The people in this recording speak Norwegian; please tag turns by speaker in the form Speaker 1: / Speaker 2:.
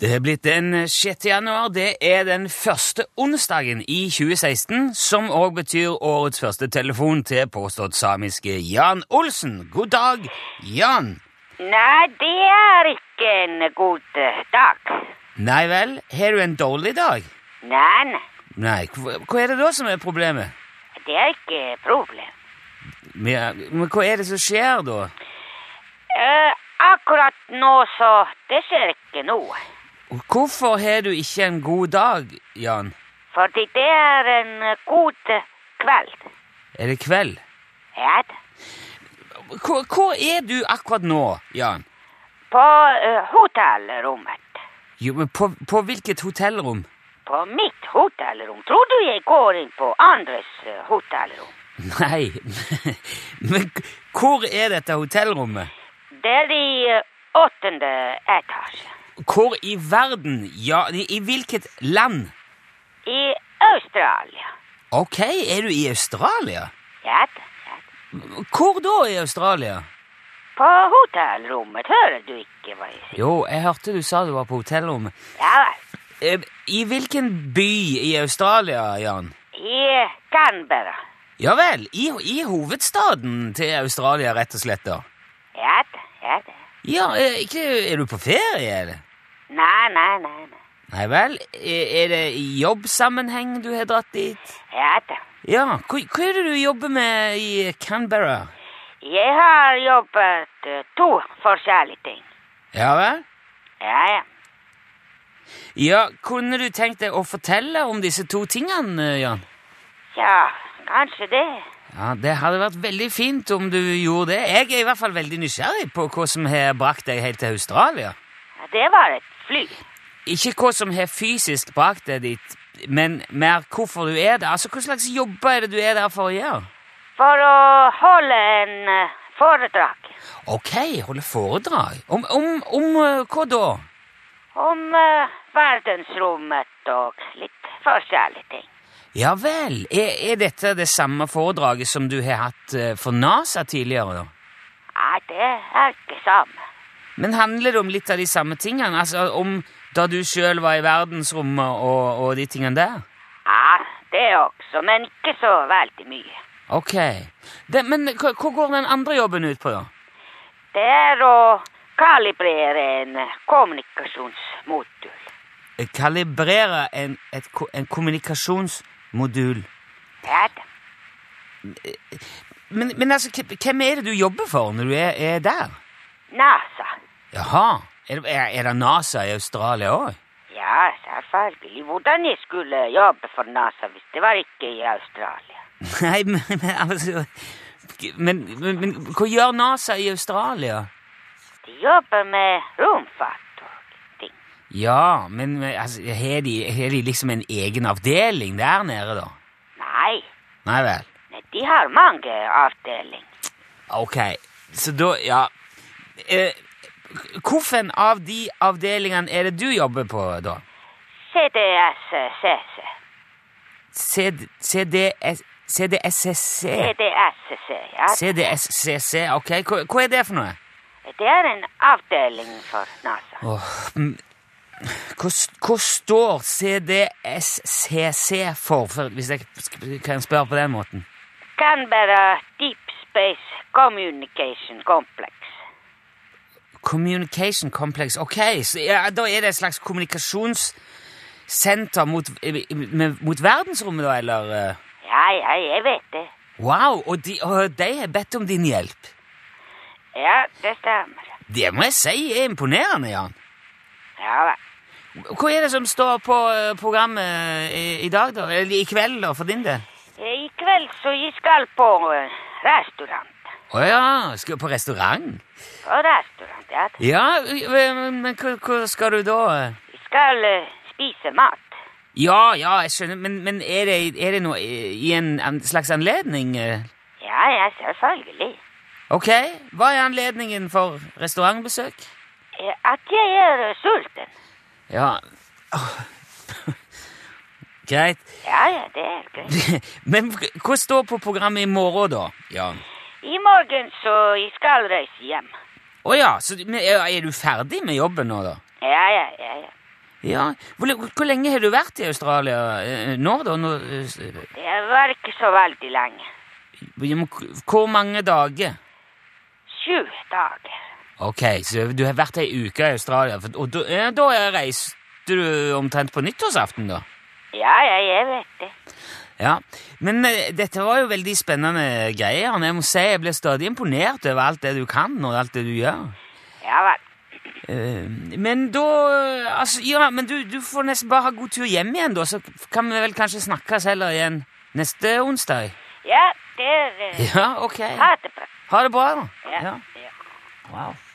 Speaker 1: Det er blitt den 6. januar. Det er den første onsdagen i 2016, som òg betyr årets første telefon til påstått samiske Jan Olsen. God dag, Jan.
Speaker 2: Nei, det er ikke en god eh, dag.
Speaker 1: Nei vel, har du en dårlig dag?
Speaker 2: Nei, nei,
Speaker 1: Nei, hva hva er det da som er problemet?
Speaker 2: det er ikke problem.
Speaker 1: Men men hva er det som skjer da?
Speaker 2: Eh, akkurat nå så det skjer ikke noe.
Speaker 1: Hvorfor har du ikke en god dag, Jan?
Speaker 2: Fordi det er en eh, god eh, kveld.
Speaker 1: Er det kveld?
Speaker 2: Ja, da.
Speaker 1: Hvor, hvor er du akkurat nå, Jan?
Speaker 2: på eh, hotellrommet.
Speaker 1: Jo, men på, på hvilket hotellrom?
Speaker 2: På mitt hotellrom. Tror du jeg går inn på andres eh, hotellrom?
Speaker 1: Nei, men k- hvor er dette hotellrommet?
Speaker 2: Det er i eh, åttende etasje.
Speaker 1: Hvor i verden? Ja, i i hvilket land?
Speaker 2: I Australia.
Speaker 1: Ok, er du i Australia?
Speaker 2: Ja, da. ja, da.
Speaker 1: Hvor da i Australia?
Speaker 2: På hotellrommet hører du ikke hva jeg sier.
Speaker 1: Jo, jeg hørte du sa du var på hotellrommet.
Speaker 2: Ja vel.
Speaker 1: Eh, I hvilken by i Australia, Jan?
Speaker 2: I Canberra.
Speaker 1: Ja vel, i, i hovedstaden til Australia, rett og slett, da.
Speaker 2: Ja da, ja da.
Speaker 1: Ja, eh, ikke, er du på ferie, eller?
Speaker 2: Nei, nei, nei. nei.
Speaker 1: Nei vel, er, er det i jobbsammenheng du har dratt dit?
Speaker 2: Ja da.
Speaker 1: Ja, hva, hva er det du jobber med i Canberra?
Speaker 2: Jeg har jobbet eh, to forskjellige ting.
Speaker 1: Ja vel?
Speaker 2: Ja, ja.
Speaker 1: Ja, kunne du tenkt deg å fortelle om disse to tingene, eh, Jan?
Speaker 2: Ja, kanskje det.
Speaker 1: Ja, det hadde vært veldig fint om du gjorde det. Jeg er i hvert fall veldig nysgjerrig på hva som har brakt deg helt til Australia.
Speaker 2: Ja, Det var et fly.
Speaker 1: Ikke hva som har fysisk brakt deg dit, men mer hvorfor du er der. Altså, hva slags jobber er det du er der for å gjøre?
Speaker 2: For å holde en eh, foredrag
Speaker 1: Ok, holde foredrag. Om, om, om eh, hva da?
Speaker 2: om eh, verdensrommet og litt forskjellige ting.
Speaker 1: Ja vel, er, er dette det samme foredraget som du har hatt eh, for NASA tidligere, da?
Speaker 2: Nei, det er ikke samme.
Speaker 1: Men handler det om litt av de samme tingene? Altså om da du sjøl var i verdensrommet og, og de tingene der?
Speaker 2: Ja, det også, men ikke så veldig mye.
Speaker 1: Ok. Det, men hva hva går den andre jobben ut på, da?
Speaker 2: Det er å kalibrere en kommunikasjonsmodul.
Speaker 1: Kalibrere en, et, ko- en kommunikasjonsmodul.
Speaker 2: Ja da.
Speaker 1: Men, men altså, hvem- hvem er det du jobber for når du er, er der?
Speaker 2: NASA.
Speaker 1: Jaha. Er, det- er, er det NASA i Australia òg?
Speaker 2: Ja, selvfølgelig. Hvordan jeg skulle jobbe for NASA hvis det var ikke i Australia?
Speaker 1: Nei, men, men altså men, men, men hva gjør NASA i Australia?
Speaker 2: De jobber med romfart og ting.
Speaker 1: Ja, men men, altså, har de, har de liksom en egen avdeling der nede, da?
Speaker 2: Nei,
Speaker 1: Nei vel.
Speaker 2: nei, de har mange avdelinger.
Speaker 1: Ok, så da, ja eh, Hvilken av de avdelingene er det du jobber på, da?
Speaker 2: CDSCC.
Speaker 1: CD, CDS, CDSCC?
Speaker 2: CDSCC, ja.
Speaker 1: CDSCC, ok. Hva, hva er det for noe?
Speaker 2: Det er en avdeling for NASA.
Speaker 1: Åh, mm, hva, s- hva står CDSCC for, for, hvis jeg sk- kan spørre på den måten?
Speaker 2: Canberra Deep Space Communication Complex.
Speaker 1: Communication Complex. Ok, så ja, da er det et slags kommunikasjonssenter mot, eh, med- mot verdensrommet, da, eller? eh?
Speaker 2: Ja, ja, jeg vet det.
Speaker 1: Wow, og de, og de har bedt om din hjelp.
Speaker 2: Ja, det stemmer.
Speaker 1: Det må jeg si er imponerende, Jan.
Speaker 2: Ja vel.
Speaker 1: Hva er det som står på eh, programmet i, i dag, da? Eller i kveld, da, for din del?
Speaker 2: I kveld så jeg skal på eh, restaurant.
Speaker 1: Å ja, skal du på restaurant?
Speaker 2: På restaurant, ja.
Speaker 1: Ja, eh, men hva, hva skal du da? eh?
Speaker 2: Vi skal eh, spise mat.
Speaker 1: Ja, ja, jeg skjønner, men, men er, det, er det noe i i en, en slags anledning? eh?
Speaker 2: Ja, ja, selvfølgelig.
Speaker 1: Ok, hva er anledningen for restaurantbesøk?
Speaker 2: Eh, At jeg er eh, sulten.
Speaker 1: Ja Greit.
Speaker 2: Ja, ja, det er greit.
Speaker 1: Men hva står på programmet i morgen, da? Jan?
Speaker 2: I morgen så jeg skal reise hjem.
Speaker 1: Å ja, så du- men er er du ferdig med jobben nå, da?
Speaker 2: Ja, ja, ja, ja.
Speaker 1: Ja, hvor, le- hvor lenge har du vært i Australia eh, nå, da? Nå, eh,
Speaker 2: Det var ikke så veldig lenge.
Speaker 1: ja, men k- eh, hvor mange dager?
Speaker 2: Sju dager.
Speaker 1: Ok, så du har vært ei uke i Australia, for, og da, ja, da reiste du omtrent på nyttårsaften, da?
Speaker 2: Ja, ja, jeg vet det.
Speaker 1: Ja, men eh, dette var jo veldig spennende greier. og Jeg må si jeg blir stadig imponert over alt det du kan, og alt det du gjør.
Speaker 2: Ja vel.
Speaker 1: Eh, Men da eh, Altså, ja, men du, du får nesten bare ha god tur hjem igjen, da, så kan vi vel kanskje snakkes heller igjen neste onsdag?
Speaker 2: Ja, det er eh,
Speaker 1: Ja, ok.
Speaker 2: Ha det bra.
Speaker 1: Ha det bra, da.
Speaker 2: Ja. ja.
Speaker 1: Wow.